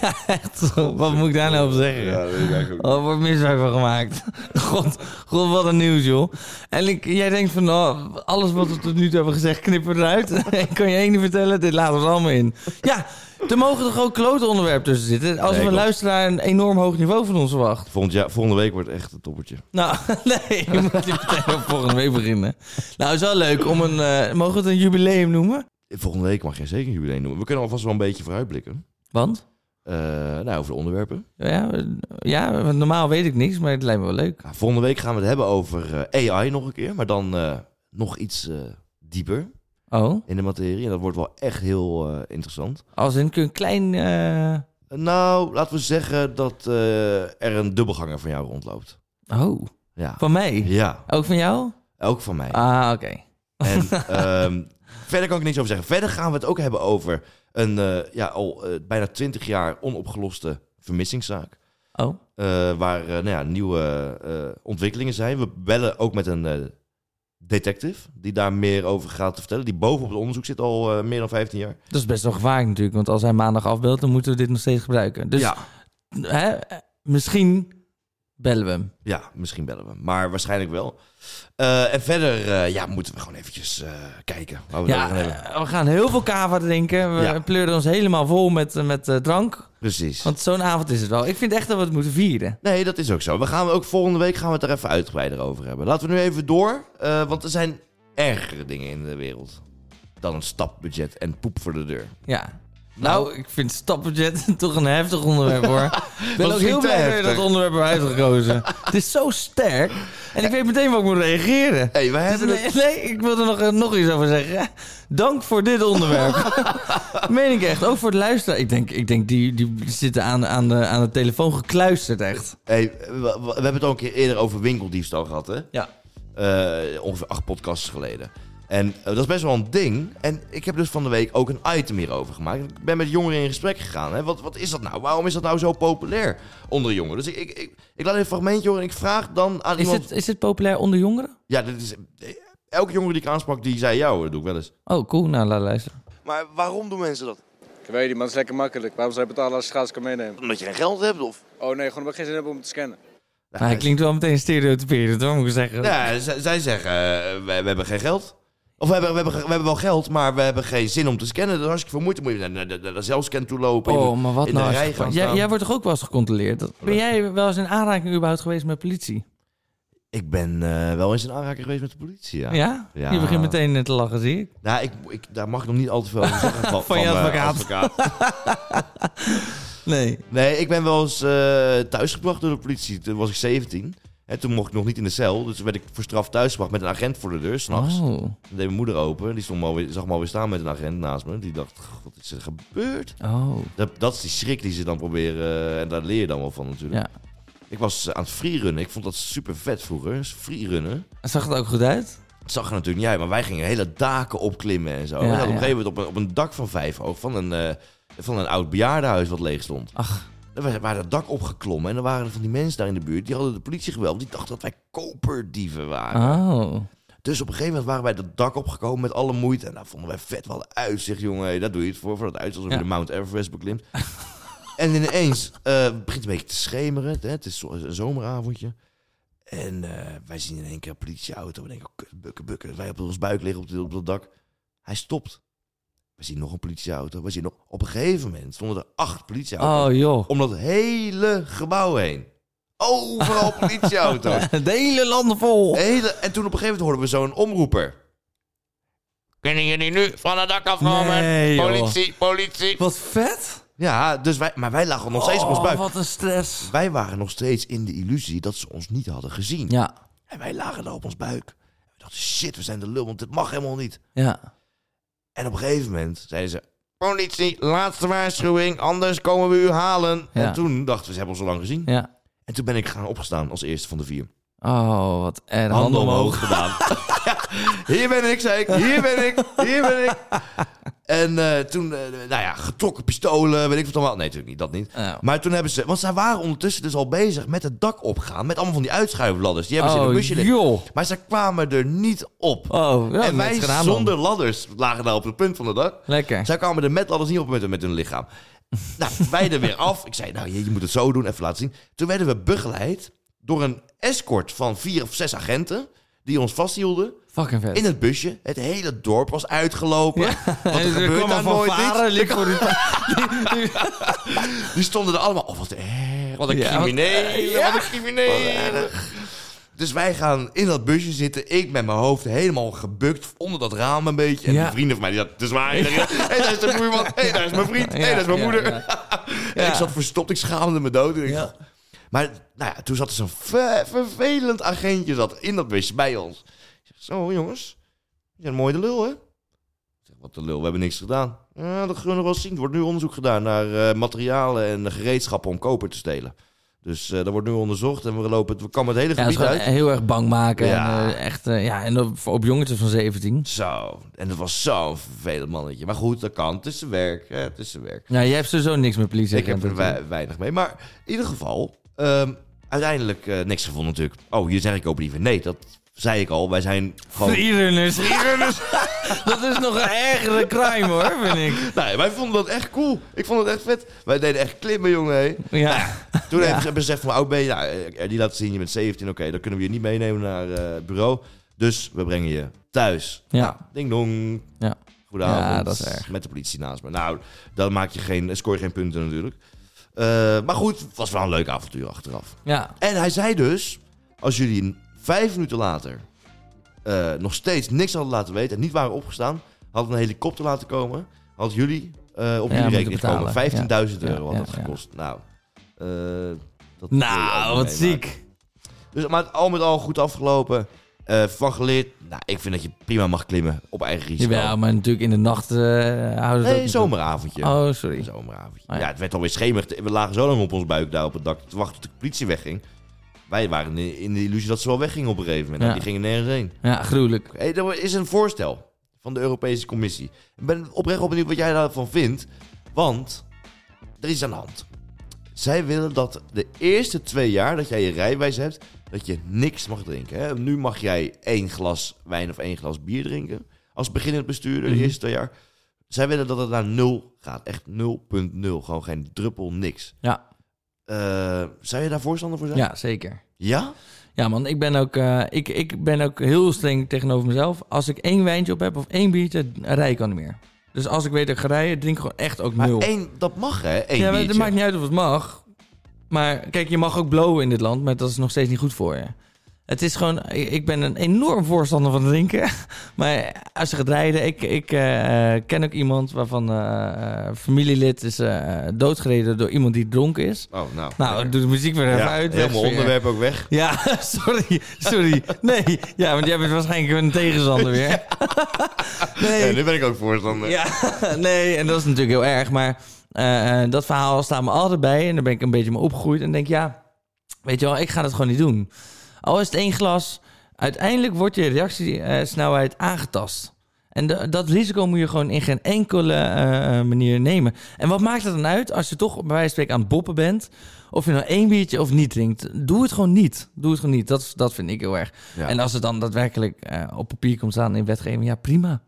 Speaker 2: ja, echt. Wat moet ik daar nou op zeggen?
Speaker 1: Ja, dat is eigenlijk ook-
Speaker 2: Oh, er wordt misbruik van gemaakt. God, god, wat een nieuws, joh. En ik, jij denkt van, oh, alles wat we tot nu toe hebben gezegd, knippen we eruit. ik kan je één ding vertellen, dit laten we er allemaal in. Ja, er mogen toch ook klote onderwerpen tussen zitten. Als
Speaker 1: Nee,
Speaker 2: we
Speaker 1: klopt.
Speaker 2: luisteraar een enorm hoog niveau van ons verwacht.
Speaker 1: Volgend jaar, volgende week wordt echt een toppertje.
Speaker 2: Nou, nee, je moet je meteen op volgende week beginnen. Nou, is wel leuk om een, eh, mogen we het een jubileum noemen?
Speaker 1: Volgende week mag je zeker een jubileum noemen. We kunnen alvast wel een beetje vooruitblikken.
Speaker 2: Want?
Speaker 1: Eh nou, over de onderwerpen.
Speaker 2: Ja, eh, ja, want normaal weet ik niks, maar het lijkt me wel leuk.
Speaker 1: Nou, volgende week gaan we het hebben over eh, AI nog een keer. Maar dan eh, nog iets eh, dieper
Speaker 2: Oh,
Speaker 1: in de materie. En dat wordt wel echt heel eh, interessant.
Speaker 2: als in kun je een klein... eh,
Speaker 1: Nou, laten we zeggen dat eh, er een dubbelganger van jou rondloopt.
Speaker 2: Oh,
Speaker 1: Ja.
Speaker 2: van mij?
Speaker 1: Ja,
Speaker 2: Ook van jou?
Speaker 1: ook van mij.
Speaker 2: Ah, oké.
Speaker 1: En ehm, verder kan ik niks over zeggen. Verder gaan we het ook hebben over een eh, ja, al eh, bijna twintig jaar onopgeloste vermissingszaak.
Speaker 2: Oh,
Speaker 1: Eh, waar eh, nou ja, nieuwe eh, ontwikkelingen zijn. We bellen ook met een eh, detective die daar meer over gaat vertellen. Die bovenop het onderzoek zit al eh, meer dan 15 jaar.
Speaker 2: dat is best wel gevaarlijk natuurlijk, want als hij maandag afbeeldt, dan moeten we dit nog steeds gebruiken. Dus
Speaker 1: ja.
Speaker 2: hè, eh, misschien bellen we hem.
Speaker 1: ja, misschien bellen we. Maar waarschijnlijk wel. Eh, en verder eh, ja, moeten we gewoon eventjes eh, kijken waar we het
Speaker 2: Ja,
Speaker 1: over gaan hebben.
Speaker 2: eh, we gaan heel veel kava drinken. We
Speaker 1: Ja.
Speaker 2: pleuren ons helemaal vol met, eh, met eh, drank.
Speaker 1: Precies.
Speaker 2: Want zo'n avond is het wel. Ik vind echt dat we het moeten vieren.
Speaker 1: Nee, dat is ook zo. We gaan ook volgende week gaan we het er even uitgebreider over hebben. Laten we nu even door, eh, want er zijn ergere dingen in de wereld dan een stapbudget en poep voor de deur.
Speaker 2: Ja. Nou, ik vind stapbudget toch een heftig onderwerp hoor. Ik ben
Speaker 1: Was
Speaker 2: ook
Speaker 1: niet
Speaker 2: heel
Speaker 1: te
Speaker 2: blij dat je
Speaker 1: heftig.
Speaker 2: dat onderwerp hebt uitgekozen. het is zo sterk. En ik weet meteen wat ik moet reageren.
Speaker 1: Hé, wij
Speaker 2: Dus
Speaker 1: hebben het...
Speaker 2: nee, nee, ik wil er nog, eh, nog iets over zeggen. Dank voor dit onderwerp. Meen ik echt. Ook voor het luisteren. Ik denk, ik denk die, die zitten aan, aan, de, aan de telefoon gekluisterd echt.
Speaker 1: Hey, we, we- we hebben het al een keer eerder over winkeldiefstal gehad, hè?
Speaker 2: Ja.
Speaker 1: Eh, ongeveer acht podcasts geleden. En eh, dat is best wel een ding. En ik heb dus van de week ook een item hierover gemaakt. Ik ben met jongeren in gesprek gegaan. Hè? Wat, wat is dat nou? Waarom is dat nou zo populair onder jongeren? Dus ik, ik, ik, ik laat even een fragmentje horen en ik vraag dan aan
Speaker 2: Is
Speaker 1: iemand...
Speaker 2: het, is het populair onder jongeren?
Speaker 1: Ja, dit is, elke jongere die ik aansprak, die zei jou, dat doe ik wel eens.
Speaker 2: Oh, cool. Nou, laat luisteren.
Speaker 1: Maar waarom doen mensen dat?
Speaker 4: Ik weet niet, maar het is lekker makkelijk. Waarom zou je betalen als je gratis kan meenemen?
Speaker 1: Omdat je geen geld hebt? Of...
Speaker 4: Oh nee, gewoon omdat ik geen zin heb om het te scannen.
Speaker 2: Maar hij klinkt wel meteen stereotyperend, hoor, moet ik zeggen.
Speaker 1: Ja, z- zij zeggen, eh, we, we hebben geen geld. Of we hebben, we, hebben, ge- we hebben wel geld, maar we hebben geen zin om te scannen. Dat is hartstikke veel moeite. Moet je naar- naar naar- naar de zelfscan toe lopen. je
Speaker 2: Oh,
Speaker 1: moet
Speaker 2: maar wat
Speaker 1: in de
Speaker 2: nou? als
Speaker 1: rij
Speaker 2: je-
Speaker 1: gaan
Speaker 2: jij,
Speaker 1: staan.
Speaker 2: jij wordt toch ook wel eens gecontroleerd? Ben jij wel eens in aanraking überhaupt geweest met politie?
Speaker 1: Ik ben eh, wel eens in aanraking geweest met de politie, ja.
Speaker 2: Ja?
Speaker 1: Ja.
Speaker 2: Je begint meteen eh, te lachen, zie ik.
Speaker 1: Nou, ik, ik, daar mag ik nog niet al te veel over zeggen. Van,
Speaker 2: je
Speaker 1: eh,
Speaker 2: advocaat. Nee.
Speaker 1: Nee, ik ben wel eens eh, thuisgebracht door de politie. Toen was ik 17. En toen mocht ik nog niet in de cel. Dus toen werd ik voor straf thuisgebracht met een agent voor de deur, s'nachts.
Speaker 2: Oh.
Speaker 1: Toen deed mijn moeder open. Die stond me alweer, zag me alweer staan met een agent naast me. Die dacht, "Goh, wat is er gebeurd?
Speaker 2: Oh.
Speaker 1: Dat, dat is die schrik die ze dan proberen. eh, en daar leer je dan wel van natuurlijk.
Speaker 2: Ja.
Speaker 1: Ik was eh, aan het freerunnen. Ik vond dat super vet vroeger. Freerunnen.
Speaker 2: Zag het ook goed uit?
Speaker 1: Dat zag er natuurlijk niet uit. Maar wij gingen hele daken opklimmen en zo.
Speaker 2: Ja,
Speaker 1: en dan op
Speaker 2: ja.
Speaker 1: een gegeven moment op een, op een dak van vijf hoog. Van een, eh, van een oud bejaardenhuis wat leeg stond.
Speaker 2: Ach.
Speaker 1: Dan waren waren dat dak opgeklommen. En dan waren er van die mensen daar in de buurt. Die hadden de politie geweld. Die dachten dat wij koperdieven waren.
Speaker 2: Oh.
Speaker 1: Dus op een gegeven moment waren wij dat dak opgekomen met alle moeite. En daar vonden wij vet wel uitzicht, jongen. Hey, daar doe je het voor, voor dat uitzicht. Alsof
Speaker 2: Ja.
Speaker 1: je de Mount Everest beklimt. en ineens eh, het begint een beetje te schemeren. Het, hè, het is zo- een zomeravondje. En eh, wij zien in één keer een politieauto. We denken, oh, kut, bukken, bukken. Wij op ons buik liggen op, de- op dat dak. Hij stopt. We zien nog een politieauto. We zien nog... Op een gegeven moment stonden er acht politieauto's.
Speaker 2: Oh, joh.
Speaker 1: Om dat hele gebouw heen. Overal politieauto's.
Speaker 2: Het hele land vol.
Speaker 1: Hele, en toen op een gegeven moment hoorden we zo'n omroeper. Kunnen jullie nu van het dak afkomen?
Speaker 2: Nee, joh.
Speaker 1: politie, politie.
Speaker 2: Wat vet.
Speaker 1: Ja, dus wij, maar wij lagen nog steeds op ons
Speaker 2: Oh,
Speaker 1: buik.
Speaker 2: wat een stress.
Speaker 1: Wij waren nog steeds in de illusie dat ze ons niet hadden gezien.
Speaker 2: Ja.
Speaker 1: En wij lagen daar op ons buik. En we dachten, shit, we zijn de lul, want dit mag helemaal niet.
Speaker 2: Ja.
Speaker 1: En op een gegeven moment zeiden ze... Politie, laatste waarschuwing, anders komen we u halen.
Speaker 2: Ja.
Speaker 1: En toen dachten we, ze hebben ons al lang gezien.
Speaker 2: Ja.
Speaker 1: En toen ben ik gaan opgestaan als eerste van de vier.
Speaker 2: Oh, wat erg.
Speaker 1: handen omhoog gedaan. Ja, hier ben ik, zei ik. Hier ben ik. Hier ben ik. En eh, toen, eh, nou ja, getrokken pistolen, weet ik wat allemaal. Nee, natuurlijk niet, dat niet.
Speaker 2: Ja.
Speaker 1: Maar toen hebben ze, want zij waren ondertussen dus al bezig met het dak opgaan. Met allemaal van die uitschuifladders. Die hebben ze in
Speaker 2: Oh,
Speaker 1: een busje liggen.
Speaker 2: joh.
Speaker 1: Maar ze kwamen er niet op.
Speaker 2: Oh, ja,
Speaker 1: en
Speaker 2: net
Speaker 1: wij
Speaker 2: gedaan dan.
Speaker 1: zonder ladders lagen daar op het punt van het dak.
Speaker 2: Lekker.
Speaker 1: Zij kwamen er met alles niet op met hun, met hun lichaam. Nou, wij er weer af. Ik zei, nou, je, je moet het zo doen, even laten zien. Toen werden we begeleid door een escort van vier of zes agenten... die ons vasthielden
Speaker 2: Fucking vet.
Speaker 1: in het busje. Het hele dorp was uitgelopen. Want er
Speaker 2: En
Speaker 1: gebeurt
Speaker 2: kwam
Speaker 1: daar
Speaker 2: een fanfare,
Speaker 1: nooit niks.
Speaker 2: liep voor die-
Speaker 1: Die stonden er allemaal... Oh, wat erg, wat een
Speaker 2: Ja, wat
Speaker 1: crimineel, wat, een crimineel. Dus wij gaan in dat busje zitten. Ik met mijn hoofd helemaal gebukt onder dat raam een beetje. En
Speaker 2: Ja.
Speaker 1: die vrienden van mij, die had te zwaar. Hé, hey, daar is de buurman. Hé, hey, daar is mijn vriend. Hé, hey, daar is mijn
Speaker 2: Ja,
Speaker 1: moeder.
Speaker 2: ja,
Speaker 1: En
Speaker 2: Ja.
Speaker 1: ik zat verstopt. Ik schaamde me dood. En ik-
Speaker 2: Ja.
Speaker 1: Maar nou ja, toen zat er zo'n ver- vervelend agentje zat in dat busje bij ons. Ik zeg, Zo, jongens. Je bent mooi de lul, hè? Ik zeg, wat de lul, we hebben niks gedaan. Ja, dat kunnen we nog wel zien. Er wordt nu onderzoek gedaan naar eh, materialen en gereedschappen om koper te stelen. Dus eh dat wordt nu onderzocht en we lopen het, we komen het hele
Speaker 2: Ja, dat is
Speaker 1: gebied
Speaker 2: gewoon
Speaker 1: uit.
Speaker 2: heel erg bang maken.
Speaker 1: Ja.
Speaker 2: En, eh, echt, eh, ja, en op, op jongetjes van 17.
Speaker 1: Zo, en dat was zo'n vervelend mannetje. Maar goed, dat kan. Het is zijn werk. Hè, het is zijn werk.
Speaker 2: Nou, jij hebt sowieso niks met politie.
Speaker 1: Ik heb er wei- weinig mee. Maar in ieder geval, ehm, uiteindelijk eh, niks gevonden natuurlijk. Oh, hier zeg ik ook liever nee. Dat zei ik al. Wij zijn gewoon...
Speaker 2: Iedereen Dat is nog een ergere crime hoor, vind ik.
Speaker 1: Nee, wij vonden dat echt cool. Ik vond het echt vet. Wij deden echt klimmen, jongen. hé.
Speaker 2: Ja.
Speaker 1: Toen hebben ze hebben ze gezegd van, oud ben je? Nou, eh, die laten zien, je bent 17. Oké, dan kunnen we je niet meenemen naar eh, het bureau. Dus we brengen je thuis. Nou,
Speaker 2: Ja.
Speaker 1: Ding dong.
Speaker 2: Ja.
Speaker 1: Goedenavond.
Speaker 2: Ja, dat is erg.
Speaker 1: Met de politie naast me. Nou, dan maak je geen, scoor je geen punten natuurlijk. Eh, maar goed, het was wel een leuk avontuur achteraf.
Speaker 2: Ja.
Speaker 1: En hij zei dus, als jullie een- vijf minuten later eh, nog steeds niks hadden laten weten en niet waren opgestaan, hadden een helikopter laten komen, hadden jullie eh, op
Speaker 2: Ja,
Speaker 1: jullie
Speaker 2: moeten
Speaker 1: rekening gekomen.
Speaker 2: betalen.
Speaker 1: 15.000
Speaker 2: Ja.
Speaker 1: euro had
Speaker 2: Ja,
Speaker 1: dat
Speaker 2: ja.
Speaker 1: gekost. Nou, eh, dat wil je ook
Speaker 2: Nou,
Speaker 1: niet
Speaker 2: wat
Speaker 1: meemaken.
Speaker 2: ziek.
Speaker 1: Dus, maar het al met al goed afgelopen. eh, van geleerd. Nou, ik vind dat je prima mag klimmen op eigen risico.
Speaker 2: Jawel, maar natuurlijk in de nacht eh, houden ze dat
Speaker 1: nee,
Speaker 2: niet
Speaker 1: zomeravondje.
Speaker 2: op. Oh,
Speaker 1: Een
Speaker 2: sorry.
Speaker 1: zomeravondje.
Speaker 2: Ah,
Speaker 1: ja.
Speaker 2: ja.
Speaker 1: het werd alweer schemerig. We lagen zo lang op ons buik daar op het dak te wachten tot de politie wegging. Wij waren in in de illusie dat ze wel weggingen op een gegeven moment.
Speaker 2: Ja.
Speaker 1: Die gingen nergens heen.
Speaker 2: Ja, gruwelijk.
Speaker 1: Hey, er is een voorstel van de Europese Commissie. Ik ben oprecht wel benieuwd wat jij daarvan vindt. Want er is aan de hand. Zij willen dat de eerste twee jaar dat jij je rijbewijs hebt, dat je niks mag drinken. Hè? Nu mag jij één glas wijn of één glas bier drinken. Als beginnend bestuurder, de
Speaker 2: Mhm.
Speaker 1: eerste twee jaar. Zij willen dat het naar nul gaat. Echt 0.0. Gewoon geen druppel, niks.
Speaker 2: Ja.
Speaker 1: Eh, zou je daar voorstander voor zijn?
Speaker 2: Ja, zeker.
Speaker 1: Ja?
Speaker 2: Ja, man, ik ben, ook, eh, ik, ik ben ook heel streng tegenover mezelf. Als ik één wijntje op heb of één biertje, rij ik al niet meer. Dus als ik weet dat ik ga rijden, drink ik gewoon echt ook
Speaker 1: Maar
Speaker 2: nul.
Speaker 1: één, dat mag hè? Eén
Speaker 2: ja, maar het
Speaker 1: biertje.
Speaker 2: maakt niet uit of het mag. Maar kijk, je mag ook blowen in dit land, maar dat is nog steeds niet goed voor je. Het is gewoon, i- ik ben een enorm voorstander van drinken. Maar als je gaat rijden, ik, ik eh, eh, ken ook iemand waarvan eh, eh, familielid is eh, doodgereden door iemand die dronken is.
Speaker 1: Oh, nou.
Speaker 2: Nou,
Speaker 1: lekker.
Speaker 2: doe de muziek weer even
Speaker 1: Ja,
Speaker 2: uit.
Speaker 1: helemaal
Speaker 2: wegsfeer.
Speaker 1: onderwerp ook weg.
Speaker 2: Ja, sorry, sorry. Nee, ja, want jij bent waarschijnlijk een tegenstander weer.
Speaker 1: Ja,
Speaker 2: Nee,
Speaker 1: nu ben ik ook voorstander.
Speaker 2: ja, nee, en dat is natuurlijk heel erg. Maar eh, eh, dat verhaal staat me altijd bij. En daar ben ik een beetje mee opgegroeid. En denk, ja, weet je wel, ik ga dat gewoon niet doen. Al is het één glas, uiteindelijk wordt je reactiesnelheid aangetast. En da- dat risico moet je gewoon in geen enkele eh, eh, manier nemen. En wat maakt het dan uit als je toch bij wijze van spreken aan het boppen bent? Of je nou één biertje of niet drinkt. Doe het gewoon niet. Doe het gewoon niet. Dat, is- dat vind ik heel erg.
Speaker 1: Ja.
Speaker 2: En als het dan daadwerkelijk eh, op papier komt staan in wetgeving, ja prima.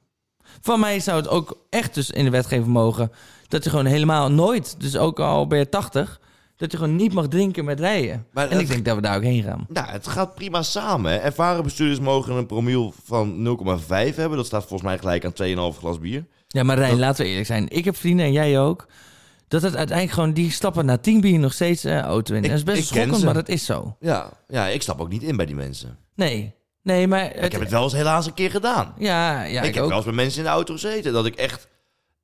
Speaker 2: Van mij zou het ook echt dus in de wetgeving mogen... dat je gewoon helemaal nooit, dus ook al ben je 80... dat je gewoon niet mag drinken met rijden.
Speaker 1: Maar
Speaker 2: en
Speaker 1: dat-
Speaker 2: ik denk dat we daar ook heen gaan.
Speaker 1: Nou, het gaat prima samen. hè. Ervaren bestuurders mogen een promiel van 0,5 hebben. Dat staat volgens mij gelijk aan 2,5 glas bier.
Speaker 2: Ja, maar Rijn,
Speaker 1: Dat-
Speaker 2: laten we eerlijk zijn. Ik heb vrienden en jij ook... dat het uiteindelijk gewoon die stappen na 10 bier nog steeds eh, auto in.
Speaker 1: Ik-
Speaker 2: dat is
Speaker 1: ik
Speaker 2: best
Speaker 1: ken
Speaker 2: schokkend,
Speaker 1: ze.
Speaker 2: maar dat is zo.
Speaker 1: Ja, ja ik stap ook niet in bij die mensen.
Speaker 2: Nee, nee, maar... Het,
Speaker 1: ik heb het wel eens helaas een keer gedaan.
Speaker 2: Ja, ja,
Speaker 1: ik,
Speaker 2: ik,
Speaker 1: heb
Speaker 2: ook.
Speaker 1: wel eens met mensen in de auto gezeten. Dat ik echt,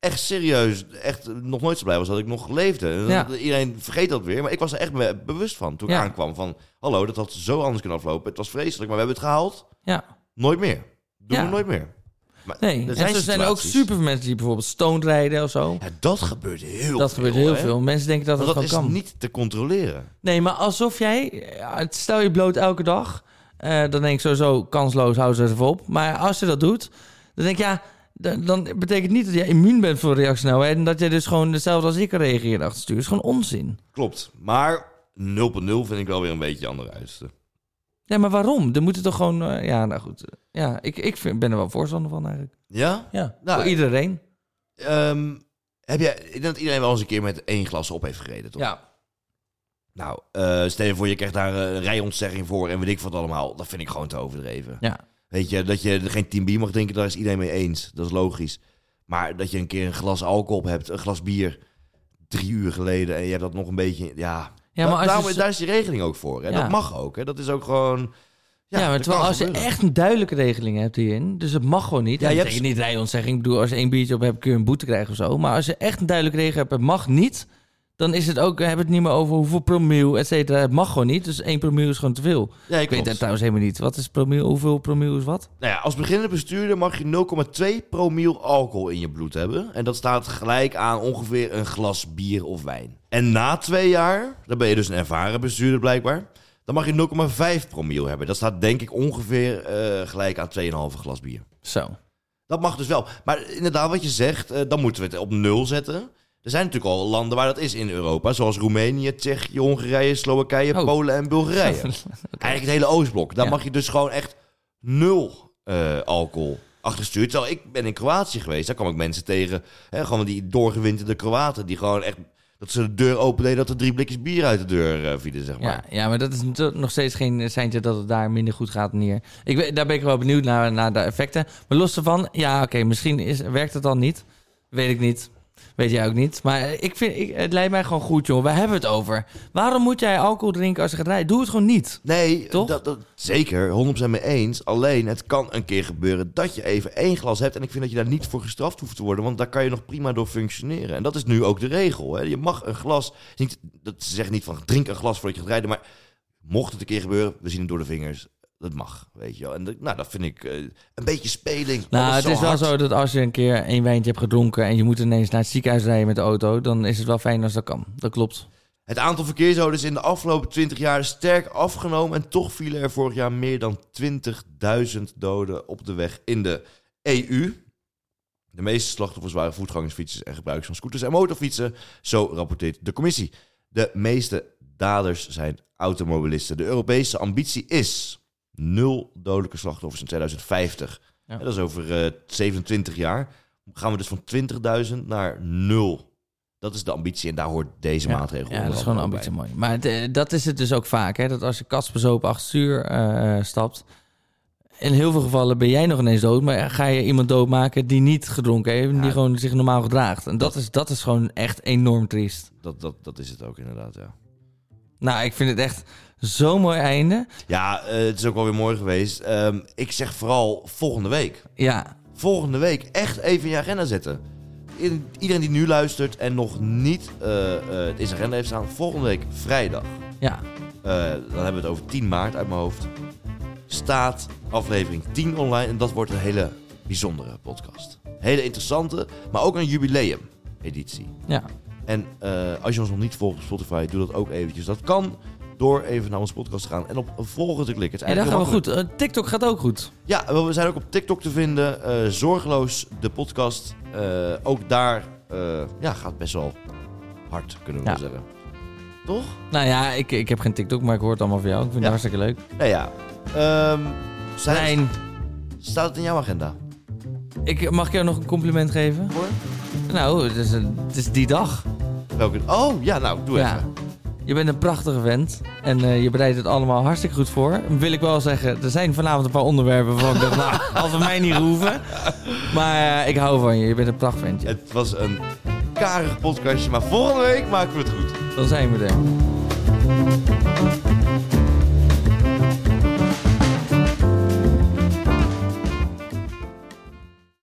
Speaker 1: echt serieus, echt nog nooit zo blij was dat ik nog leefde. En
Speaker 2: Ja.
Speaker 1: dat- Iedereen vergeet dat weer. Maar ik was er echt me- bewust van toen ik
Speaker 2: Ja.
Speaker 1: aankwam. Van, hallo, dat had zo anders kunnen aflopen. Het was vreselijk, maar we hebben het gehaald.
Speaker 2: Ja,
Speaker 1: Nooit meer. Doen
Speaker 2: Ja.
Speaker 1: we nooit meer. Maar
Speaker 2: nee. en zo zijn er ook
Speaker 1: situaties-
Speaker 2: super mensen die bijvoorbeeld stoned rijden of zo.
Speaker 1: Ja, dat gebeurt heel
Speaker 2: dat
Speaker 1: veel.
Speaker 2: gebeurt heel
Speaker 1: hè.
Speaker 2: veel. Mensen denken dat
Speaker 1: Want
Speaker 2: het
Speaker 1: dat
Speaker 2: gewoon
Speaker 1: is
Speaker 2: kan.
Speaker 1: niet te controleren.
Speaker 2: Nee, maar alsof jij... ja, het- Stel je bloot elke dag. eh, dan denk ik sowieso kansloos, hou ze even op. Maar als je dat doet, dan denk ik ja... Dan, dan betekent niet dat jij immuun bent voor reactiesnelheid... en dat jij dus gewoon hetzelfde als ik kan reageren achter het stuur. is gewoon onzin.
Speaker 1: Klopt. Maar 0.0 vind ik wel weer een beetje andere uiterste.
Speaker 2: Ja, maar waarom? Dan moeten toch gewoon... eh, ja, nou goed. Ja, ik, ik vind, ben er wel voorstander van eigenlijk.
Speaker 1: Ja?
Speaker 2: Ja,
Speaker 1: Nou,
Speaker 2: voor iedereen.
Speaker 1: Ehm, heb jij, ik denk dat iedereen wel eens een keer met één glas op heeft gereden, toch?
Speaker 2: Ja.
Speaker 1: Nou, eh, stel je voor, je krijgt daar eh, een rijontzegging voor en weet ik wat allemaal. Dat vind ik gewoon te overdreven.
Speaker 2: Ja.
Speaker 1: Weet je, dat je er geen 10 bier mag drinken, daar is iedereen mee eens. Dat is logisch. Maar dat je een keer een glas alcohol op hebt, een glas bier, drie uur geleden... en je hebt dat nog een beetje... Ja,
Speaker 2: Ja, maar
Speaker 1: Da-
Speaker 2: als
Speaker 1: daarom-
Speaker 2: je...
Speaker 1: daar is die regeling ook voor. Hè?
Speaker 2: Ja.
Speaker 1: Dat mag ook. Hè? Dat is ook gewoon.
Speaker 2: Ja, maar
Speaker 1: dat
Speaker 2: terwijl
Speaker 1: kan
Speaker 2: als je
Speaker 1: gebeuren.
Speaker 2: echt een duidelijke regeling hebt hierin, dus het mag gewoon niet.
Speaker 1: Ja,
Speaker 2: Ja, je
Speaker 1: je
Speaker 2: hebt
Speaker 1: hebt-
Speaker 2: niet rijontzegging. Ik bedoel, als je één biertje op hebt, kun je een boete krijgen of zo. Maar als je echt een duidelijke regel hebt, het mag niet, dan is het ook, we hebben het niet meer over hoeveel promiel, et cetera. Het mag gewoon niet, dus één promiel is gewoon te veel.
Speaker 1: Ja,
Speaker 2: Ik weet
Speaker 1: klopt.
Speaker 2: dat trouwens helemaal niet. Wat is promiel, hoeveel promiel is wat?
Speaker 1: Nou ja, als beginnende bestuurder mag je 0,2 promiel alcohol in je bloed hebben. En dat staat gelijk aan ongeveer een glas bier of wijn. En na twee jaar, dan ben je dus een ervaren bestuurder blijkbaar, dan mag je 0,5 promiel hebben. Dat staat denk ik ongeveer eh, gelijk aan 2,5 glas bier.
Speaker 2: Zo.
Speaker 1: Dat mag dus wel. Maar inderdaad, wat je zegt, eh, dan moeten we het op nul zetten. Er zijn natuurlijk al landen waar dat is in Europa, zoals Roemenië, Tsjechië, Hongarije, Slowakije,
Speaker 2: Oh.
Speaker 1: Polen en Bulgarije. Eigenlijk het hele Oostblok. Daar
Speaker 2: Ja.
Speaker 1: mag je dus gewoon echt nul eh, alcohol achterstuurt. Terwijl ik ben in Kroatië geweest, daar kwam ik mensen tegen. Hè, gewoon die doorgewinterde Kroaten, die gewoon echt... Dat ze de deur opendeden, dat er drie blikjes bier uit de deur eh, vielen, zeg maar.
Speaker 2: Ja, ja, maar dat is natuurlijk nog steeds geen seintje dat het daar minder goed gaat neer. Ik, weet- daar ben ik wel benieuwd naar, naar de effecten. Maar los daarvan, ja, oké, misschien is, werkt het dan niet. Weet ik niet. Weet jij ook niet. Maar eh, ik vind, ik, het lijkt mij gewoon goed, joh. Waar hebben we het over? Waarom moet jij alcohol drinken als je gaat rijden? Doe het gewoon niet.
Speaker 1: Nee,
Speaker 2: Toch?
Speaker 1: Dat, dat, zeker, 100% mee eens. Alleen, het kan een keer gebeuren dat je even één glas hebt. En ik vind dat je daar niet voor gestraft hoeft te worden. Want daar kan je nog prima door functioneren. En dat is nu ook de regel. Hè. Je mag een glas... Niet, dat ze zeggen niet van drink een glas voordat je gaat rijden. Maar mocht het een keer gebeuren, we zien het door de vingers. Dat mag, weet je wel. En dat, nou, dat vind ik eh, een beetje speling.
Speaker 2: Nou,
Speaker 1: Alles
Speaker 2: het is wel
Speaker 1: hard.
Speaker 2: zo dat als je een keer één wijntje hebt gedronken... en je moet ineens naar het ziekenhuis rijden met de auto... dan is het wel fijn als dat kan. Dat klopt.
Speaker 1: Het aantal verkeersdoden is in de afgelopen 20 jaar sterk afgenomen. En toch vielen er vorig jaar meer dan 20.000 doden op de weg in de EU. E De meeste slachtoffers waren voetgangers, fietsers en gebruikers van scooters en motorfietsen. Zo rapporteert de commissie. De meeste daders zijn automobilisten. De Europese ambitie is nul dodelijke slachtoffers in 2050.
Speaker 2: Ja.
Speaker 1: En dat is over eh, 27 jaar. Gaan we dus van 20.000 naar nul. Dat is de ambitie en daar hoort deze
Speaker 2: Ja,
Speaker 1: maatregel
Speaker 2: Ja,
Speaker 1: onder
Speaker 2: dat is gewoon een
Speaker 1: andere
Speaker 2: ambitie mooi. Maar het, eh, dat is het dus ook vaak, hè? Dat als je kastbezopen achter het stuur eh, stapt... In heel veel gevallen ben jij nog ineens dood, maar ga je iemand doodmaken die niet gedronken heeft, en
Speaker 1: Ja.
Speaker 2: die gewoon zich normaal gedraagt. En dat is, dat is gewoon echt enorm triest.
Speaker 1: bij. Dat, dat, dat is het ook inderdaad, ja.
Speaker 2: Nou, ik vind het echt zo'n mooi einde.
Speaker 1: Ja, eh, het is ook wel weer mooi geweest. Ehm, ik zeg vooral volgende week.
Speaker 2: Ja,
Speaker 1: Volgende week echt even in je agenda zetten. I- Iedereen die nu luistert en nog niet eh, eh, het in zijn agenda heeft staan, volgende week vrijdag.
Speaker 2: ja.
Speaker 1: Eh, dan hebben we het over 10 maart uit mijn hoofd. Staat aflevering 10 online. En dat wordt een hele bijzondere podcast. Hele interessante, maar ook een jubileum editie.
Speaker 2: ja.
Speaker 1: En eh, als je ons nog niet volgt op Spotify, doe dat ook eventjes. Dat kan door even naar onze podcast te gaan en op volgen te klikken. Het is
Speaker 2: ja dat
Speaker 1: eigenlijk
Speaker 2: gaat wel
Speaker 1: heel
Speaker 2: goed. Eh, TikTok gaat ook goed.
Speaker 1: makkelijk. Ja, we zijn ook op TikTok te vinden. eh, zorgeloos de podcast. Eh, ook daar eh, ja, gaat best wel hard, kunnen we
Speaker 2: Ja.
Speaker 1: wel zeggen. Toch?
Speaker 2: Nou ja, ik, ik heb geen TikTok, maar ik hoor het allemaal van jou. Ik vind
Speaker 1: Ja.
Speaker 2: het hartstikke leuk.
Speaker 1: Nou ja. Ehm, zijn-
Speaker 2: Rijn,
Speaker 1: Staat het in jouw agenda?
Speaker 2: ik, mag ik jou nog een compliment geven?
Speaker 1: Hoor.
Speaker 2: Nou, het is, een- het is die dag.
Speaker 1: Welke? Oh, ja, nou, doe
Speaker 2: Ja.
Speaker 1: even.
Speaker 2: Je bent een prachtige vent en eh, je bereidt het allemaal hartstikke goed voor. Wil ik wel zeggen, er zijn vanavond een paar onderwerpen waarvan ik dacht, nou, als we mij niet hoeven. Maar eh, ik hou van je, je bent een prachtig ventje.
Speaker 1: Het was een karig podcastje, maar volgende week maken we het goed.
Speaker 2: Dan zijn we er.